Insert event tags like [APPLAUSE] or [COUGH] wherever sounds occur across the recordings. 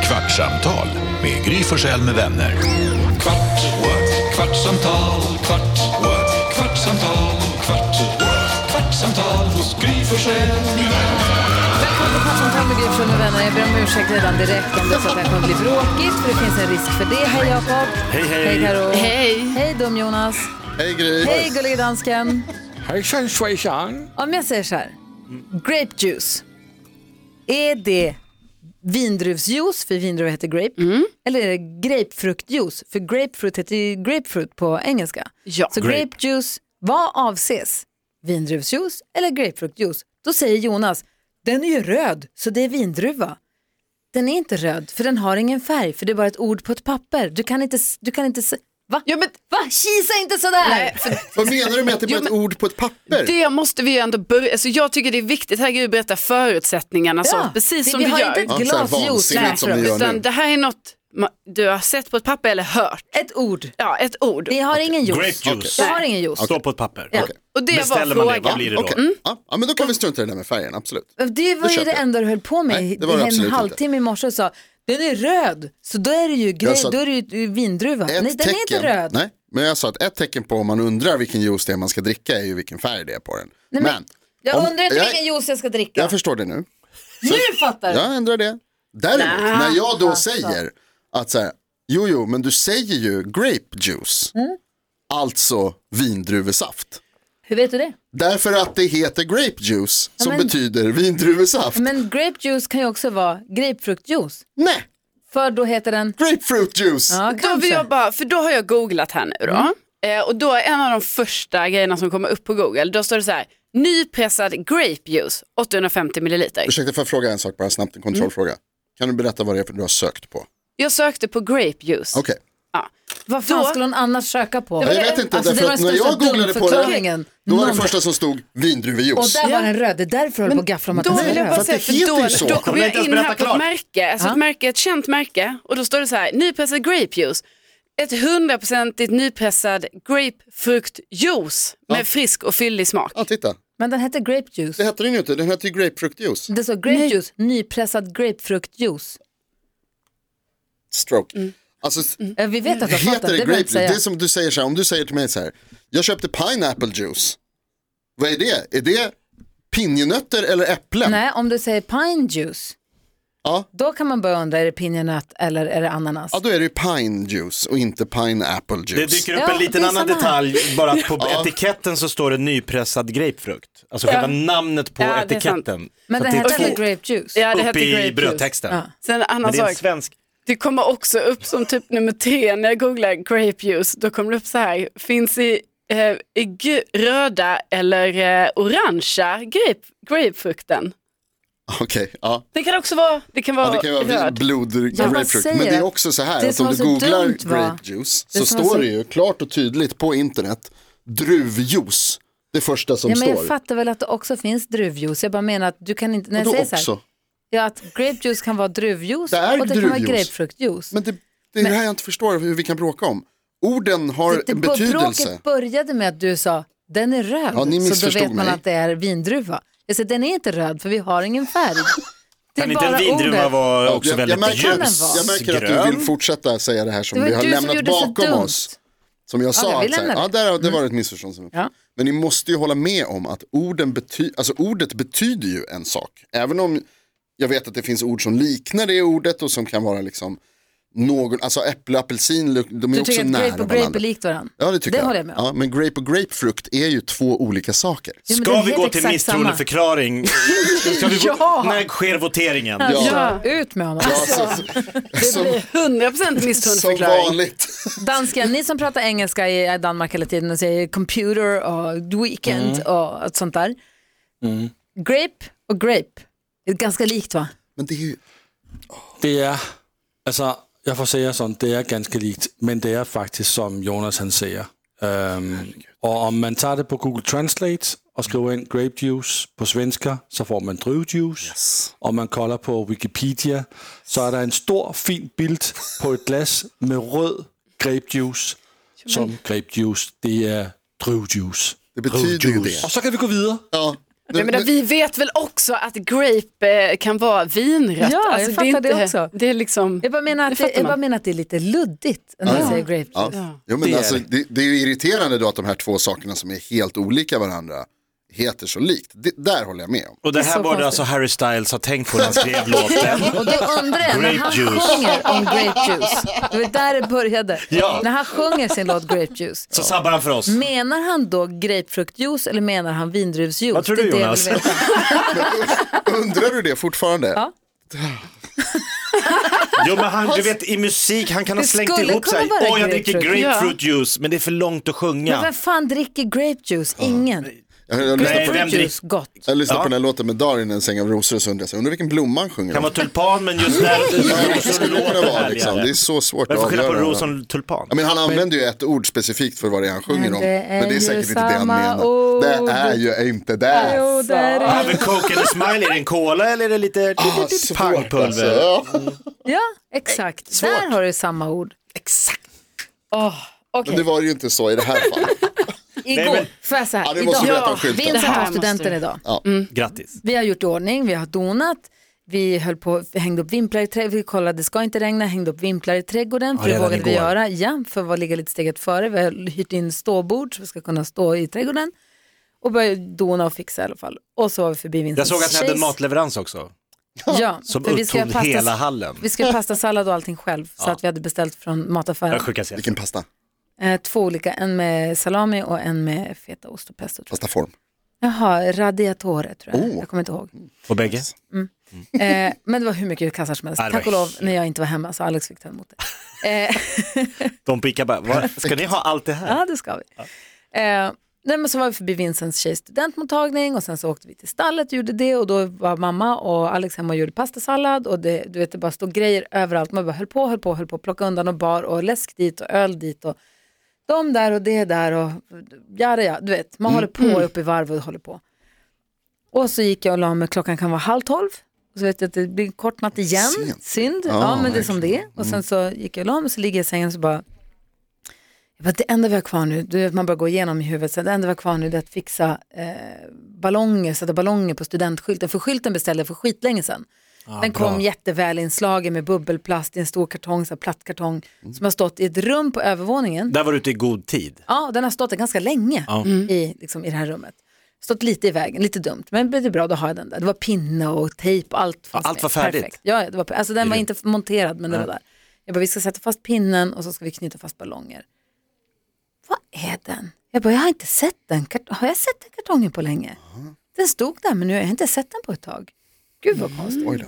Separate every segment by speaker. Speaker 1: Kvartsamtal med Gry Forssell med vänner. Kvart, what? kvartsamtal, kvart, what? kvartsamtal, kvart, what? kvartsamtal hos Gry Forssell med vänner.
Speaker 2: Välkommen till Kvartsamtal med Gry Forssell med vänner. Jag ber om ursäkt redan direkt om det är så att det här kommer bli bråkigt, för det finns en risk för det. Hej Jakob!
Speaker 3: Hej, hej.
Speaker 2: Hej Karo.
Speaker 4: Hej.
Speaker 2: Hej Dum-Jonas!
Speaker 5: Hej Gry!
Speaker 2: Hej gullige dansken!
Speaker 3: Hejsan svejsan!
Speaker 2: Om jag säger så här, grape juice, är det vindruvsjuice, för vindruva heter grape,
Speaker 4: Mm.
Speaker 2: eller är det grapefruktjuice, för grapefruit heter ju grapefruit på engelska.
Speaker 4: Ja.
Speaker 2: Så grape. juice, vad avses? Vindruvsjuice eller grapefruktjuice? Då säger Jonas, den är ju röd, så det är vindruva. Den är inte röd, för den har ingen färg, för det är bara ett ord på ett papper. Du kan inte, s- du kan inte, s- va?
Speaker 4: Ja, men,
Speaker 2: Va? Kisa inte sådär!
Speaker 4: nej, för
Speaker 5: Vad menar du med att det är bara ett ord på ett papper?
Speaker 4: det måste vi ju ändå börja, alltså, jag tycker det är viktigt, här kan vi berätta förutsättningarna, så,
Speaker 2: vi,
Speaker 4: Alltså, precis som
Speaker 2: vi
Speaker 4: du
Speaker 2: har
Speaker 4: gör.
Speaker 2: inte ett
Speaker 5: Ja, så här
Speaker 2: glas juice
Speaker 5: vansinnigt som ni gör. nu.
Speaker 4: Utan det här är något ma- du har sett på ett papper eller hört,
Speaker 2: Ett ord.
Speaker 4: ja ett ord.
Speaker 2: Vi har ingen juice.
Speaker 6: Grape juice.
Speaker 2: Jag har ingen juice.
Speaker 6: Står på ett papper.
Speaker 2: Ja.
Speaker 5: Okej.
Speaker 4: Och det
Speaker 6: Beställer
Speaker 4: var
Speaker 6: man det,
Speaker 4: frågan.
Speaker 6: vad blir det då?
Speaker 5: Okej, ja, ja, men då kan vi strunta i det där med färgen, absolut.
Speaker 2: Det var
Speaker 5: Det
Speaker 2: ju
Speaker 5: köper
Speaker 2: det
Speaker 5: jag.
Speaker 2: enda du höll på med
Speaker 5: Nej, det var det
Speaker 2: i en
Speaker 5: absolut inte.
Speaker 2: halvtimme i morse och sa den är röd, så då är det ju, grej,
Speaker 5: Jag sa-
Speaker 2: då är det ju vindruva. Nej,
Speaker 5: Ett
Speaker 2: den
Speaker 5: tecken,
Speaker 2: är inte röd.
Speaker 5: Nej, men jag sa att ett tecken på om man undrar vilken juice det är man ska dricka är ju vilken färg det är på den.
Speaker 2: Nej, men-
Speaker 5: men
Speaker 2: Jag
Speaker 5: om-
Speaker 2: undrar inte
Speaker 5: jag-
Speaker 2: vilken juice jag ska dricka.
Speaker 5: jag förstår det nu.
Speaker 2: nu fattar du!
Speaker 5: Jag ändrar det. Däremot, när jag då
Speaker 2: alltså.
Speaker 5: säger att så här, jo, jo, men du säger ju grape juice,
Speaker 2: Mm.
Speaker 5: alltså vindruvesaft.
Speaker 2: Hur vet du det?
Speaker 5: Därför att det heter grape juice som
Speaker 2: men-
Speaker 5: betyder vindruvesaft.
Speaker 2: Men grape juice kan ju också vara grapefruktjuice,
Speaker 5: Nej,
Speaker 2: för då heter den...
Speaker 5: grapefruit juice.
Speaker 2: Ja,
Speaker 4: Då vill
Speaker 2: kanske. Mm.
Speaker 4: jag bara, för då har jag googlat här nu då. Eh, och då är en av de första grejerna som kommer upp på Google, då står det så här, nypressad grape juice, 850 milliliter.
Speaker 5: Ursäkta, får jag fråga en sak bara snabbt, en
Speaker 2: Mm.
Speaker 5: kontrollfråga. Kan du berätta vad det är för du har sökt på?
Speaker 4: Jag sökte på grape juice.
Speaker 5: Okej.
Speaker 4: Ja.
Speaker 2: Vad fan
Speaker 4: Då-
Speaker 2: skulle hon annars söka på?
Speaker 5: Nej, Jag vet inte,
Speaker 2: Alltså,
Speaker 5: därför
Speaker 2: det
Speaker 5: att
Speaker 2: var
Speaker 5: när
Speaker 2: den
Speaker 5: jag
Speaker 2: största
Speaker 5: googlade på
Speaker 2: dumförklaringen
Speaker 5: det, då var det
Speaker 2: någonsin.
Speaker 5: första som stod
Speaker 2: Och
Speaker 5: vindruvejuice.
Speaker 2: där var den röd, det är därför jag håller på och gafflar om att
Speaker 4: Då
Speaker 2: den är
Speaker 4: vill jag
Speaker 5: för
Speaker 4: bara
Speaker 2: röd.
Speaker 5: att det
Speaker 4: säga, för
Speaker 5: heter ju så.
Speaker 4: då, då
Speaker 6: Kommer
Speaker 4: kommer jag
Speaker 6: inte ens
Speaker 4: in här
Speaker 6: berätta
Speaker 4: på ett
Speaker 6: klart.
Speaker 4: märke, alltså ett, märke, ett känt märke och då står det så här, nypressad grapejuice. Ett hundraprocentigt nypressad grapefruktjuice med frisk och fyllig smak.
Speaker 5: Ja,
Speaker 6: typ.
Speaker 5: titta.
Speaker 2: Men den hette grape juice.
Speaker 5: Det hette den ju inte, den hette ju grapefruktjuice.
Speaker 2: Det står grape juice, nypressad grapefruktjuice.
Speaker 5: Stroke. Alltså, s-
Speaker 2: Eh, Vi vet att du har fattat,
Speaker 5: heter det
Speaker 2: det behöver jag inte
Speaker 5: grapejuice? Det
Speaker 2: säga.
Speaker 5: är som du säger så här, om du säger till mig så här, jag köpte pineapple juice. Vad är det? Är det pinjenötter eller äpplen?
Speaker 2: Nej, om du säger pine juice,
Speaker 5: Ja.
Speaker 2: då kan man börja undra, är det pinjenöt eller är det ananas?
Speaker 5: ja, då är det ju pine juice och inte pineapple juice.
Speaker 6: Det dyker upp
Speaker 2: Ja,
Speaker 6: en liten
Speaker 2: det är
Speaker 6: annan
Speaker 2: samma här.
Speaker 6: detalj, bara
Speaker 5: [LAUGHS]
Speaker 6: att på etiketten så står det nypressad grapefrukt. Alltså själva namnet på
Speaker 4: Ja, det är
Speaker 6: etiketten.
Speaker 2: Men
Speaker 6: Så
Speaker 2: det
Speaker 6: att
Speaker 2: hette väl
Speaker 6: två
Speaker 2: grape juice?
Speaker 4: Ja, det
Speaker 6: upp
Speaker 4: hette
Speaker 6: i
Speaker 4: grapejuice.
Speaker 6: brödtexten.
Speaker 4: Sen en annan
Speaker 6: Men det är en
Speaker 4: sak,
Speaker 6: svensk.
Speaker 4: det kommer också upp som typ nummer tre när jag googlar grapejuice, då kommer det upp så här, finns i, eh, i gu- röda eller eh, orangea grape, grapefrukten.
Speaker 5: Okej, ja.
Speaker 4: Det kan också vara, det kan vara,
Speaker 5: Ja, det kan ju vara
Speaker 4: röd.
Speaker 5: blod
Speaker 2: Ja, vad
Speaker 5: grapefrukt.
Speaker 2: säger
Speaker 5: Men det är
Speaker 2: jag?
Speaker 5: också så här
Speaker 2: Det
Speaker 5: att
Speaker 2: som
Speaker 5: om
Speaker 2: var
Speaker 5: du
Speaker 2: så
Speaker 5: googlar
Speaker 2: dumt var-
Speaker 5: grape juice
Speaker 2: Det
Speaker 5: så
Speaker 2: som var
Speaker 5: står
Speaker 2: så-
Speaker 5: det ju klart och tydligt på internet druvjuice. Det första som
Speaker 2: Ja, men jag
Speaker 5: står.
Speaker 2: fattar väl att det också finns druvjuice. Jag bara menar att du kan inte, när jag
Speaker 5: Vadå
Speaker 2: säger så här,
Speaker 5: också?
Speaker 2: ja, att grape juice kan vara druvjuice
Speaker 5: Det är
Speaker 2: och det kan vara
Speaker 5: druvjuice.
Speaker 2: grapefruktjuice.
Speaker 5: Men det, det är det här jag inte förstår hur vi kan bråka om. Orden har
Speaker 2: det,
Speaker 5: en
Speaker 2: det,
Speaker 5: betydelse.
Speaker 2: bråket började med att du sa, den är röd,
Speaker 5: Ja, ni
Speaker 2: så då
Speaker 5: missförstod
Speaker 2: vet man
Speaker 5: mig.
Speaker 2: att det är vindruva. Jag säger, den är inte röd för vi har ingen
Speaker 6: [LAUGHS]
Speaker 2: färg. Det är
Speaker 6: Kan inte en
Speaker 2: bara
Speaker 6: vindruva
Speaker 2: ordet.
Speaker 6: vara
Speaker 5: Ja,
Speaker 6: också
Speaker 5: jag, jag,
Speaker 6: väldigt
Speaker 5: märker,
Speaker 2: Kan den vara?
Speaker 5: jag märker att du vill
Speaker 6: ljusgrön?
Speaker 5: fortsätta säga det här
Speaker 2: Det
Speaker 5: som
Speaker 2: var
Speaker 5: vi
Speaker 2: ju
Speaker 5: har
Speaker 2: du som
Speaker 5: lämnat
Speaker 2: gjorde så
Speaker 5: bakom
Speaker 2: dumt.
Speaker 5: oss. Som jag sa,
Speaker 2: Ja, vi
Speaker 5: att, så här,
Speaker 2: lämnar
Speaker 5: ja,
Speaker 2: det. Mm.
Speaker 5: där, har- det var ett missförstånd. Som
Speaker 2: Ja.
Speaker 5: Men ni måste ju hålla med om att orden bety alltså, ordet betyder ju en sak. Även om jag vet att det finns ord som liknar det ordet och som kan vara liksom någon, alltså äpple och apelsin, luk- de är
Speaker 2: Du
Speaker 5: också
Speaker 2: tycker att
Speaker 5: nära
Speaker 2: grape och grape
Speaker 5: varandra.
Speaker 2: är likt varandra?
Speaker 5: Ja det tycker jag.
Speaker 2: håller jag med om.
Speaker 5: ja, men grape och grapefrukt är ju två olika saker.
Speaker 2: Ja, men det
Speaker 6: Ska
Speaker 2: är
Speaker 6: vi
Speaker 2: helt
Speaker 6: gå till
Speaker 2: exakt samma. [LAUGHS]
Speaker 6: misstroendeförklaring? Ska vi gå-
Speaker 2: Ja.
Speaker 6: När sker voteringen?
Speaker 2: Ja. Ut med honom. Alltså,
Speaker 5: Ja, så, som,
Speaker 6: [LAUGHS]
Speaker 4: 100%
Speaker 5: som
Speaker 4: misstroendeförklaring.
Speaker 5: vanligt.
Speaker 2: Dansken, ni som pratar engelska i Danmark hela tiden och säger computer och weekend
Speaker 5: Mm.
Speaker 2: och allt sånt där. Grape och grape är ganska likt va?
Speaker 5: Men det är ju,
Speaker 7: Det er, altså, jeg får sige sådan, det er ganske likt, men det er faktisk, som Jonas han siger. Øhm, og om man tager det på Google Translate og skriver ind grape juice på svensker, så får man drivjuice. Yes. Og man kolder på Wikipedia, så er der en stor, fin bild på et glas med rød grape juice, som grape juice, det er drivjuice.
Speaker 5: det betyder ju det.
Speaker 7: Og så kan vi gå videre.
Speaker 5: Ja.
Speaker 4: Jag menar, vi vet väl också att grape eh, kan vara vinrött.
Speaker 2: Ja, jag fattar
Speaker 4: är
Speaker 2: det också.
Speaker 4: Det är liksom,
Speaker 2: Jag bara menar
Speaker 4: Det
Speaker 2: att det,
Speaker 4: fattar
Speaker 2: jag bara
Speaker 4: man.
Speaker 2: menar att det är lite luddigt när man
Speaker 5: Ja.
Speaker 2: säger grape
Speaker 5: Ja.
Speaker 2: juice.
Speaker 5: Jo, men
Speaker 6: Det
Speaker 5: det,
Speaker 6: är
Speaker 5: alltså,
Speaker 6: det.
Speaker 5: det, det är ju irriterande då att de här två sakerna som är helt olika varandra heter så likt. Det, där håller jag med om.
Speaker 6: Och det
Speaker 2: Det är
Speaker 6: här
Speaker 2: så
Speaker 6: borde
Speaker 2: konstigt.
Speaker 6: alltså Harry Styles ha tänkt på när han
Speaker 2: [LAUGHS]
Speaker 6: skrev låten.
Speaker 2: Och då undrar jag, när
Speaker 6: Grape
Speaker 2: han
Speaker 6: juice.
Speaker 2: sjunger om grape juice, det var där det började,
Speaker 6: Ja.
Speaker 2: när han sjunger sin låt grape juice,
Speaker 6: Så sabbar han för oss.
Speaker 2: menar han då grapefruktjuice eller menar han vindruvsjuice?
Speaker 6: Vad tror
Speaker 2: Det är
Speaker 6: du,
Speaker 2: det jag
Speaker 6: Jonas?
Speaker 2: vill veta.
Speaker 5: Undrar du det fortfarande?
Speaker 2: Ja.
Speaker 6: Jo men han, du vet i musik, han kan ha
Speaker 2: Det
Speaker 6: slängt
Speaker 2: skulle
Speaker 6: ihop
Speaker 2: kunna
Speaker 6: sig.
Speaker 2: vara
Speaker 6: Åh jag dricker
Speaker 2: grapefruit."
Speaker 6: grapefruit juice, men det är för långt att sjunga.
Speaker 2: Men vem fan dricker grape juice? Ingen.
Speaker 5: Jag, jag, lyssnade,
Speaker 6: Nej,
Speaker 5: på,
Speaker 6: vem
Speaker 2: Grapefruktjuice, gott.
Speaker 5: jag lyssnade
Speaker 6: Ja.
Speaker 5: på den här låten med Darin, En säng av rosor, och så undrar jag, så här, undrar vilken blomma han sjunger
Speaker 6: Det kan
Speaker 5: om.
Speaker 6: vara tulpan men just där
Speaker 5: Ja, det
Speaker 6: så
Speaker 5: skulle det kunna
Speaker 6: låter
Speaker 5: vara liksom. Det är
Speaker 6: härligare.
Speaker 5: så svårt
Speaker 6: Varför
Speaker 5: att
Speaker 6: skilja på
Speaker 5: avgöra.
Speaker 6: ros och tulpan?
Speaker 5: Ja, men han använder ju ett ord specifikt för vad det är han sjunger
Speaker 2: Men
Speaker 5: om.
Speaker 2: det är
Speaker 5: Men det är
Speaker 2: ju
Speaker 5: säkert inte det han
Speaker 2: samma
Speaker 5: menar.
Speaker 2: ord.
Speaker 5: Det är ju inte det.
Speaker 2: Jo, där är
Speaker 6: Även Coke and Smile, är det en cola eller är det lite
Speaker 5: Ah,
Speaker 6: lite
Speaker 5: svårt alltså.
Speaker 6: pangpulver?
Speaker 5: Ja.
Speaker 2: Ja, exakt. Där har du samma ord.
Speaker 5: Men det var ju inte så i det här fallet.
Speaker 2: Igår,
Speaker 6: men-
Speaker 2: får jag säga
Speaker 5: Ja,
Speaker 2: här,
Speaker 5: det måste
Speaker 2: idag,
Speaker 5: berätta om skylten.
Speaker 4: Det
Speaker 2: Vincent
Speaker 4: här
Speaker 2: var
Speaker 4: måste
Speaker 2: studenten
Speaker 4: vi-
Speaker 2: idag.
Speaker 6: Grattis.
Speaker 2: Vi har gjort i ordning, vi har donat, vi höll på, vi hängde upp vimplar i trädgården, vi kollade, ska inte regna, hängde upp vimplar i trädgården, för det
Speaker 6: redan
Speaker 2: vågade vi
Speaker 6: igår.
Speaker 2: göra, ja, för att ligga lite steget före, vi har hyrt in ståbord så vi ska kunna stå i trädgården och började dona och fixa i alla fall. Och så var vi förbi Vincents
Speaker 6: Jag såg att ni hade en
Speaker 2: tjejs.
Speaker 6: matleverans också.
Speaker 2: ja,
Speaker 6: Som
Speaker 2: för vi ska göra
Speaker 6: upptog
Speaker 2: pasta-
Speaker 6: hela hallen.
Speaker 2: Vi
Speaker 6: [LAUGHS]
Speaker 2: ska göra pastasallad och allting själv, så att vi hade beställt från mataffären.
Speaker 6: Jag skickar sen.
Speaker 5: Vilken pasta?
Speaker 2: Eh, två olika, en med salami och en med fetaost och pesto. Tror jag.
Speaker 5: Pastaform.
Speaker 2: Jaha, radiatore tror jag.
Speaker 5: Oh.
Speaker 2: Jag kommer inte ihåg.
Speaker 6: Och bägge?
Speaker 2: Eh, men det var hur mycket kassar som helst.
Speaker 6: Ja, det var
Speaker 2: Tack och lov,
Speaker 6: helt-
Speaker 2: när jag inte var hemma så Alex fick ta emot det. Eh,
Speaker 6: De pickar
Speaker 2: [LAUGHS]
Speaker 6: bara, "Va? ska ni ha allt det här?
Speaker 2: ja, det ska vi. Eh, nej, men så var vi förbi Vincents tjejs studentmottagning och sen så åkte vi till stallet och gjorde det och då var mamma och Alex hemma och gjorde pastasallad och det, du vet, det bara stod grejer överallt. Man bara höll på, höll på, höll på, plocka undan och bar och läsk dit och öl dit och de där och det där och jada, ja, du vet, man håller på upp i varv och håller på. Och så gick jag och la mig, klockan kan vara halv tolv. Och så vet jag att det blir en kort natt igen,
Speaker 5: Sent.
Speaker 2: synd,
Speaker 5: Ja,
Speaker 2: ja men det är som det är. Och sen så gick jag och la mig, så ligger jag i sängen och så bara, jag bara, det enda vi har kvar nu, du vet, man bara går igenom i huvudet, så här, det enda vi har kvar nu det är att fixa eh, ballonger, sätta ballonger på studentskylten, för skylten beställde jag för skitlänge sedan. Den kom jättevälinslagen med bubbelplast i en stor kartong, så här plattkartong, som har stått i ett rum på övervåningen.
Speaker 6: Där var du ute i god tid.
Speaker 2: Ja, den har stått där ganska länge i, liksom, i det här rummet. Stått lite i vägen, lite dumt, men det är bra, då har jag den där. Det var pinne och tejp, allt fanns
Speaker 6: Ja, allt
Speaker 2: med.
Speaker 6: var färdigt.
Speaker 2: Perfekt. Ja, det var, alltså den var inte monterad, men den var där. Jag bara, vi ska sätta fast pinnen och så ska vi knyta fast ballonger. Vad är den? Jag bara, jag har inte sett den. kart- Har jag sett den kartongen på länge? Den stod där, men nu har jag inte sett den på ett tag. Gud vad konstigt.
Speaker 5: Oj då.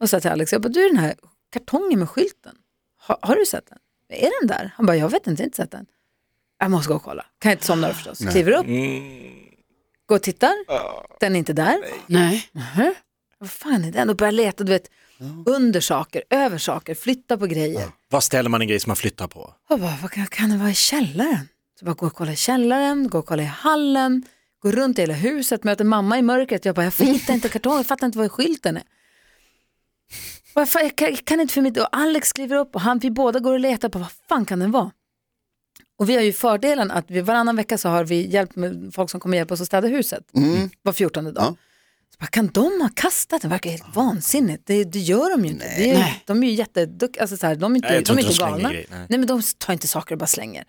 Speaker 2: Och sa till Alex, jag bara, du den här kartongen med skylten, har, har du sett den? Är den där? Han bara, jag vet inte, jag har inte sett den. Jag måste gå och kolla, kan jag inte somna då förstås. Kliver upp, går och tittar, den är inte där.
Speaker 4: nej.
Speaker 2: Vad fan är den? Och börjar leta, du vet, under saker, över saker, flytta på grejer.
Speaker 6: Vad ställer man en grej som man flyttar på?
Speaker 2: Jag bara, vad kan, kan det vara i källaren? Så bara går och kollar i källaren, går och kollar i hallen, går runt i hela huset, möter mamma i mörkret. Jag bara, jag hittar inte kartongen, jag fattar inte var skylten är. Och jag, fa- jag kan, jag kan inte för mitt... Och Alex kliver upp och han, vi båda går och letar på vad fan kan den vara? Och vi har ju fördelen att vi, varannan vecka så har vi hjälp med folk som kommer hjälpa oss att städa huset. Var fjortonde dag.
Speaker 5: Ja.
Speaker 2: Så bara, kan de ha kastat den? Det verkar helt vansinnigt. Det, det gör de ju inte. Det är, de är ju jätteduktiga, alltså, så här, de är inte,
Speaker 6: Nej, jag
Speaker 2: de
Speaker 6: tror
Speaker 2: är
Speaker 6: inte
Speaker 2: inte
Speaker 6: de slänger
Speaker 2: galna.
Speaker 6: grejer,
Speaker 2: nej.
Speaker 6: nej.
Speaker 2: men de tar inte saker och bara slänger.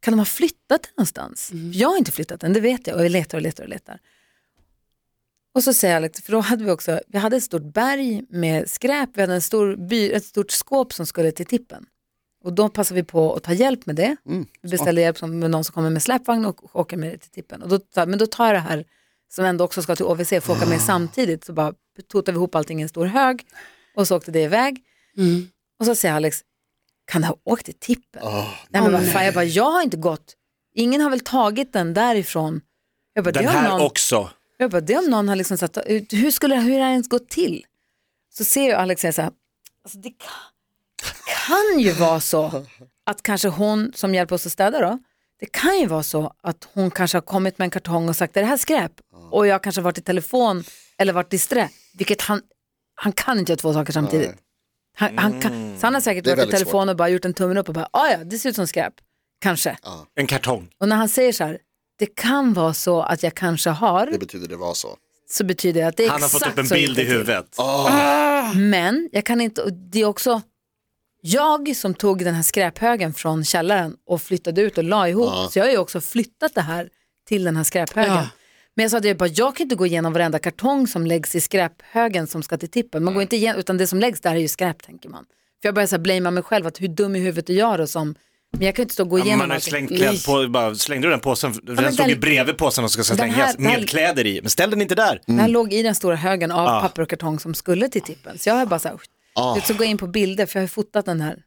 Speaker 2: Kan de ha flyttat den någonstans? Jag har inte flyttat den, det vet jag. Och jag letar och letar och letar. Och så säger Alex, för då hade vi också, vi hade ett stort berg med skräp, vi hade en stor by, ett stort skåp som skulle till tippen. Och då passade vi på att ta hjälp med det. Vi beställde hjälp som, med någon som kommer med släpvagn och åker med det till tippen. Och då, tar- men då tar jag det här som ändå också ska till OVC, får åka med samtidigt. Så bara totar vi ihop allting i en stor hög och så åkte det iväg. Och så säger Alex, kan det ha åkt till tippen? Nej men vad fan, jag bara, jag har inte gått, ingen har väl tagit den därifrån. Jag bara,
Speaker 6: Den
Speaker 2: det har
Speaker 6: här
Speaker 2: någon...
Speaker 6: också.
Speaker 2: Jag bara, det om någon har liksom satt, ut- hur skulle hur har det ens gått till? Så ser jag Alex säga så här, alltså det kan, kan ju vara så att kanske hon som hjälper oss att städa då, det kan ju vara så att hon kanske har kommit med en kartong och sagt är det här skräp? Och jag kanske har varit i telefon eller varit disträ, vilket han, han kan inte göra två saker samtidigt. Han, han kan, så han har säkert
Speaker 5: Mm. Det är
Speaker 2: varit i
Speaker 5: väldigt
Speaker 2: telefon och bara gjort en tummen upp och bara, "Ah, ja det ser ut som skräp, kanske.
Speaker 6: En kartong.
Speaker 2: Och när han säger så här, det kan vara så att jag kanske har,
Speaker 5: Det betyder det var så.
Speaker 2: så betyder det att det är
Speaker 6: Han har
Speaker 2: exakt
Speaker 6: fått upp en
Speaker 2: så
Speaker 6: bild i
Speaker 2: det går till.
Speaker 6: huvudet.
Speaker 2: Men jag kan inte, och det är också jag som tog den här skräphögen från källaren och flyttade ut och la ihop. Så jag har ju också flyttat det här till den här skräphögen.
Speaker 4: Ja.
Speaker 2: Men jag sa det, jag bara, jag kan inte gå igenom varenda kartong som läggs i skräphögen som ska till tippen. Man går inte igenom, utan det som läggs där är ju skräp tänker man. För jag börjar så här blamea mig själv, att hur dum i huvudet är jag då som, men jag kan ju inte stå och gå
Speaker 6: Ja,
Speaker 2: igenom
Speaker 6: man har ju
Speaker 2: allting.
Speaker 6: slängt
Speaker 2: Nej.
Speaker 6: kläd på, bara, slängde du den påsen? Den
Speaker 2: men
Speaker 6: stod ju
Speaker 2: den-
Speaker 6: bredvid påsen som ska
Speaker 2: Den här-
Speaker 6: slängas
Speaker 2: den här-
Speaker 6: med kläder i. Men ställ den inte där.
Speaker 5: Mm.
Speaker 2: Den här låg i den stora högen av
Speaker 5: Ah.
Speaker 2: papper och kartong som skulle till tippen. Så jag har bara så här, oh. så går jag in på bilder för jag har fotat den här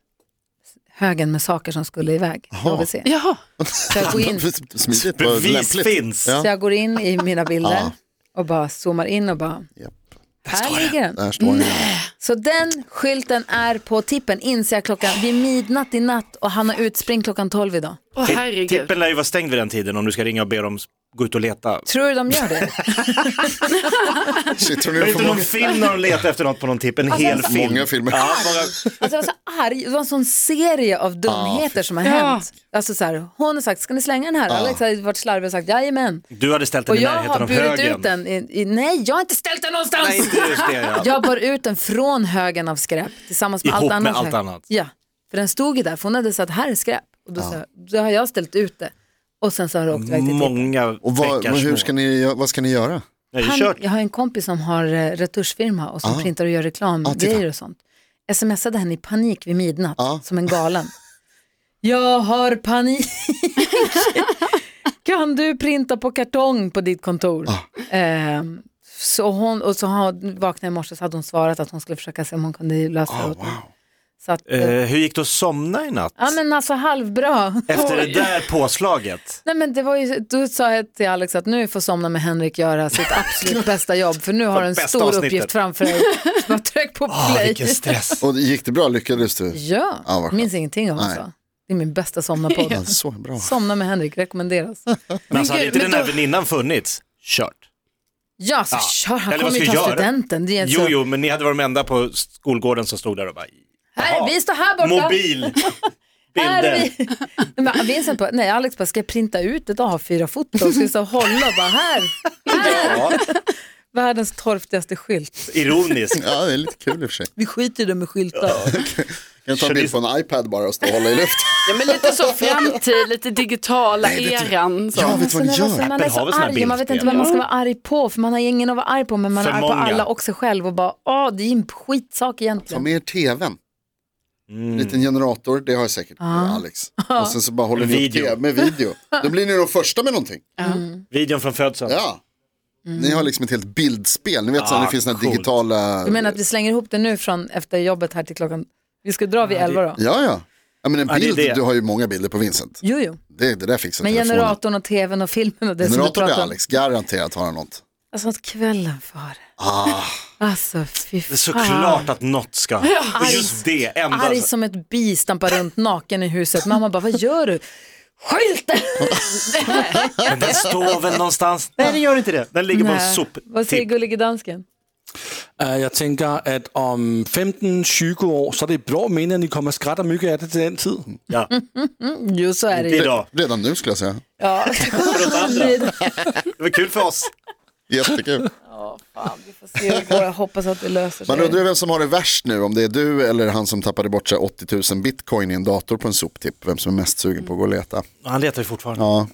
Speaker 2: högen med saker som skulle iväg. Oh. Så
Speaker 4: Jaha.
Speaker 2: jag går in,
Speaker 5: Smidigt, vad
Speaker 6: Bevis
Speaker 5: lämpligt. [LAUGHS]
Speaker 6: finns.
Speaker 5: Ja. Ah.
Speaker 2: så jag går in i mina bilder och bara zoomar in och bara,
Speaker 5: Japp.
Speaker 2: här ligger den.
Speaker 5: Där står den.
Speaker 2: Så den skylten är på tippen, inser jag klockan, vid midnatt i natt och han har utspring klockan 12 idag.
Speaker 4: Åh
Speaker 6: Ti-
Speaker 4: herregud.
Speaker 6: Tippen lär ju vara stängd vid den tiden om du ska ringa och be dem gå ut och leta.
Speaker 2: Tror du de gör
Speaker 5: [LAUGHS]
Speaker 2: det?
Speaker 5: Shit, tror ni
Speaker 6: Är
Speaker 5: det är för
Speaker 6: det inte någon
Speaker 5: många,
Speaker 6: film när de letar efter något på någon tipp? En hel
Speaker 5: så-
Speaker 6: film.
Speaker 5: Många filmer.
Speaker 6: Ja, bara,
Speaker 2: Alltså jag var så arg, det var en sån serie av
Speaker 5: Ah,
Speaker 2: dumheter som har
Speaker 4: Ja.
Speaker 2: hänt. Alltså så här, hon har sagt, ska ni slänga den här? Alex har varit slarvig och sagt, jajamän.
Speaker 6: du hade ställt
Speaker 2: Och
Speaker 6: den i
Speaker 2: jag
Speaker 6: närheten
Speaker 2: har
Speaker 6: av
Speaker 2: burit
Speaker 6: högen.
Speaker 2: ut den, i, i, nej jag har inte ställt den någonstans.
Speaker 6: Nej, inte just det. Ja.
Speaker 2: Jag bar ut den från högen av skräp tillsammans med
Speaker 6: Ihop
Speaker 2: allt
Speaker 6: med
Speaker 2: annat.
Speaker 6: allt
Speaker 2: här.
Speaker 6: annat.
Speaker 2: Ja, för den stod ju där, för hon hade sagt, här är skräp. Och då, sa jag, då har jag ställt ut det. Och sen så har det åkt iväg till tippen.
Speaker 6: Många
Speaker 5: och vad,
Speaker 6: bäckar
Speaker 5: men hur
Speaker 6: små.
Speaker 5: ska ni, gö- vad ska ni göra?
Speaker 6: Nej, det är
Speaker 2: Han,
Speaker 6: kört.
Speaker 2: jag har en kompis som har eh, retuschfirma och som printar och gör reklamgrejer och sånt. Smsade henne i panik vid midnatt, som en galen. [LAUGHS] Jag har panik. [LAUGHS] kan du printa på kartong på ditt kontor? Ehm, så hon, och så har- vaknade jag i morse så hade hon svarat att hon skulle försöka se om hon kunde lösa det åt mig. Så att, eh,
Speaker 6: Eh, hur gick det att somna i natt?
Speaker 2: ja men alltså halvbra.
Speaker 6: Efter det där påslaget.
Speaker 2: Nej, men det var ju, då sa jag till Alex att nu får Somna med Henrik göra
Speaker 6: [LAUGHS]
Speaker 2: sitt absolut bästa jobb för nu har du en
Speaker 6: Bästa
Speaker 2: stor
Speaker 6: avsnittet.
Speaker 2: uppgift framför
Speaker 6: [LAUGHS]
Speaker 2: dig. Så bara tryck på
Speaker 6: Ah,
Speaker 2: play.
Speaker 6: vilken stress.
Speaker 5: Och gick det bra? Lyckades du?
Speaker 2: ja,
Speaker 5: Ja, vad skönt.
Speaker 2: minns ingenting av
Speaker 5: Nej.
Speaker 2: alltså. Det är min bästa somnapodd.
Speaker 5: Ja, så bra.
Speaker 2: Somna med Henrik rekommenderas.
Speaker 6: Men alltså, hade
Speaker 4: gud,
Speaker 6: inte
Speaker 4: men
Speaker 6: den här
Speaker 4: då-
Speaker 6: väninnan funnits, kört.
Speaker 2: Ja, så
Speaker 6: Ja.
Speaker 2: kör, han
Speaker 6: Eller vad
Speaker 2: kommer ju
Speaker 6: ska
Speaker 2: ta
Speaker 6: jag göra?
Speaker 2: studenten. Det är
Speaker 6: Jo,
Speaker 2: så,
Speaker 6: jo, men ni hade varit de enda på skolgården som stod där och bara,
Speaker 2: Här,
Speaker 6: Jaha.
Speaker 2: vi står här borta.
Speaker 6: mobil,
Speaker 2: [LAUGHS] Här är
Speaker 6: bilder.
Speaker 2: vi. [LAUGHS] Nej, Men Vincent bara, nej Alex bara, ska jag printa ut ett A4-foto? Ska jag stå och hålla och bara här?
Speaker 6: [LAUGHS] Ja,
Speaker 2: [LAUGHS] Världens torftigaste skylt.
Speaker 6: ironiskt.
Speaker 5: Ja, det är lite kul i och för sig.
Speaker 2: Vi skiter i det med skyltar.
Speaker 5: Kan jag ta en bild på en iPad bara och stå och hålla i luften?
Speaker 4: Ja, men lite så framtid, lite digitala eran. Så.
Speaker 5: Ja, vet du vad ni
Speaker 2: Alltså,
Speaker 5: gör?
Speaker 2: när Man är
Speaker 6: Apple har
Speaker 2: så
Speaker 6: väl såna här
Speaker 2: arg, man vet inte
Speaker 6: bildspel,
Speaker 2: vad man
Speaker 6: ja.
Speaker 2: ska vara arg på, för man har ingen att vara arg på, men man
Speaker 6: För
Speaker 2: är arg på
Speaker 6: många.
Speaker 2: alla och sig själv och bara, åh, det är en skitsak
Speaker 5: Ta
Speaker 2: egentligen.
Speaker 5: med er tvn.
Speaker 6: Mm.
Speaker 5: Liten generator, det har jag säkert Alex. Och sen så bara håller ni upp
Speaker 6: Video.
Speaker 5: TV med video. Då blir ni de första med någonting.
Speaker 6: Videon från födseln.
Speaker 5: Ja.
Speaker 4: Mm.
Speaker 5: Ni har liksom ett helt bildspel. Ni vet så här,
Speaker 6: Ah,
Speaker 5: det finns den här
Speaker 6: coolt.
Speaker 5: digitala...
Speaker 2: Du menar att vi slänger ihop det nu från efter jobbet här till klockan, vi ska dra vid elva då?
Speaker 5: Ja, ja. Ja, men en
Speaker 6: Ja, det är
Speaker 5: bild,
Speaker 6: det.
Speaker 5: du har ju många bilder på Vincent.
Speaker 2: Jo, jo.
Speaker 5: Det, det där fixar
Speaker 2: Men
Speaker 5: telefonen.
Speaker 2: generatorn och tvn och filmen och det som du
Speaker 5: Generator är
Speaker 2: pratar om.
Speaker 5: Alex, garanterat har han något.
Speaker 2: Alltså att kvällen före. Alltså fy
Speaker 6: Ah. Det är
Speaker 2: fan.
Speaker 6: såklart att något ska, och just det, enda.
Speaker 2: Ah. Arg som ett bi, stampar runt [LAUGHS] naken i huset. Mamma bara, vad gör du? Skylten!
Speaker 6: Men den står väl någonstans? Nej, den gör inte det. Den ligger på en
Speaker 2: Nej. Vad säger
Speaker 6: soptipp.
Speaker 2: gullige dansken?
Speaker 7: Uh, jeg tænker, at om 15-20 år, så er det et blå minde, at I kommer skræt og mygge af det til den tid.
Speaker 2: [LAUGHS]
Speaker 6: Ja,
Speaker 2: Jo, så är det
Speaker 6: inte
Speaker 2: ju.
Speaker 6: idag.
Speaker 5: Redan nu skulle jag säga.
Speaker 2: Ja. [LAUGHS]
Speaker 6: Det var kul för oss.
Speaker 2: [LAUGHS]
Speaker 5: Jättekul.
Speaker 2: Fan, vi får se hur det går. Jag hoppas att det löser sig.
Speaker 5: Man undrar ju vem som har det värst nu, om det är du eller han som tappade bort sig 80 000 bitcoin i en dator på en soptipp. Vem som är mest sugen på att gå och leta.
Speaker 6: Han letar ju fortfarande.
Speaker 5: Ja,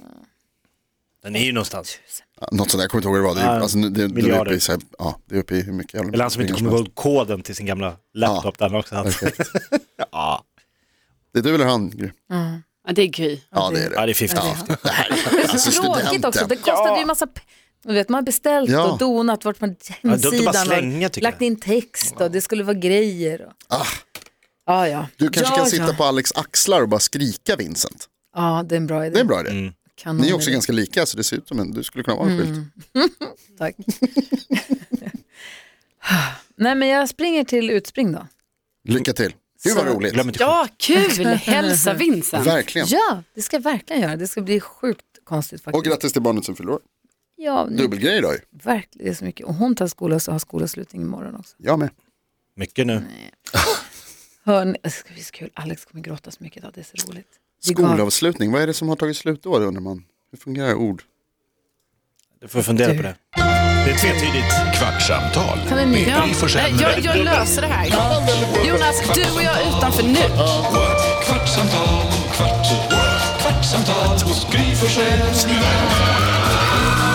Speaker 6: Den är ju någonstans.
Speaker 5: något sånt där, jag kommer inte ihåg vad det var. Det är,
Speaker 6: Ja,
Speaker 5: alltså, nu- det, det är
Speaker 6: miljarder.
Speaker 5: uppe i, så här, ja, det är uppe i hur mycket jävla
Speaker 6: Eller han som inte
Speaker 5: pengar
Speaker 6: kommer
Speaker 5: som
Speaker 6: ihåg koden till sin gamla laptop där han också hade.
Speaker 5: helst. Perfekt.
Speaker 6: [LAUGHS] Ja,
Speaker 5: Det är du eller han? Gry?
Speaker 4: Ja, det är Gry.
Speaker 5: Ja, det är det.
Speaker 6: det är 50-50.
Speaker 5: Det här är alltså
Speaker 2: Tråkigt också, det kostade ju massa p- du vet, man har beställt
Speaker 5: Ja.
Speaker 2: och donat, varit på
Speaker 6: dumt att
Speaker 2: hemsidan
Speaker 6: bara
Speaker 2: och
Speaker 6: slänga, tycker
Speaker 2: lagt
Speaker 6: jag.
Speaker 2: in text och det skulle vara grejer. Och...
Speaker 5: Ah,
Speaker 2: Ja, ja.
Speaker 5: du kanske
Speaker 2: ja,
Speaker 5: kan sitta
Speaker 2: ja.
Speaker 5: på Alex axlar och bara skrika Vincent.
Speaker 2: Ja, det är en bra idé.
Speaker 5: Det är en bra idé.
Speaker 2: Kanon
Speaker 5: Ni är också
Speaker 2: idé.
Speaker 5: ganska lika så det ser ut som en, du skulle kunna vara
Speaker 2: Mm.
Speaker 5: en skylt.
Speaker 2: Tack. Nej, men jag springer till utspring då.
Speaker 5: Lycka till. Gud vad roligt.
Speaker 6: Glöm inte
Speaker 4: Ja, kul! Hälsa Vincent.
Speaker 5: Verkligen.
Speaker 2: Ja, det ska jag verkligen göra. Det ska bli sjukt konstigt
Speaker 5: Och
Speaker 2: faktiskt.
Speaker 5: grattis till barnet som fyller år.
Speaker 2: Ja, nu,
Speaker 5: Dubbelgrej idag ju.
Speaker 2: verkligen. Det är så mycket. Och hon tar skola så har skolavslutning imorgon också.
Speaker 5: Jag med.
Speaker 6: mycket nu.
Speaker 2: Hörni, det ska bli så kul. Alex kommer gråta så mycket idag, det är så roligt. Vi gav-
Speaker 5: Skolavslutning, vad är det som har tagit slut då det undrar man? Hur fungerar ord?
Speaker 6: Du får fundera på det. Det är tvetydigt.
Speaker 1: Kvartsamtal
Speaker 2: Han är
Speaker 1: med
Speaker 2: ny.
Speaker 1: Gry Forssell
Speaker 4: Nej,
Speaker 1: med
Speaker 4: Eh, jag,
Speaker 1: vänner.
Speaker 4: jag löser det här. Jonas, du och jag är utanför nu.
Speaker 1: Kvartsamtal, kvart, kvartsamtal hos Gry Forssell med vänner.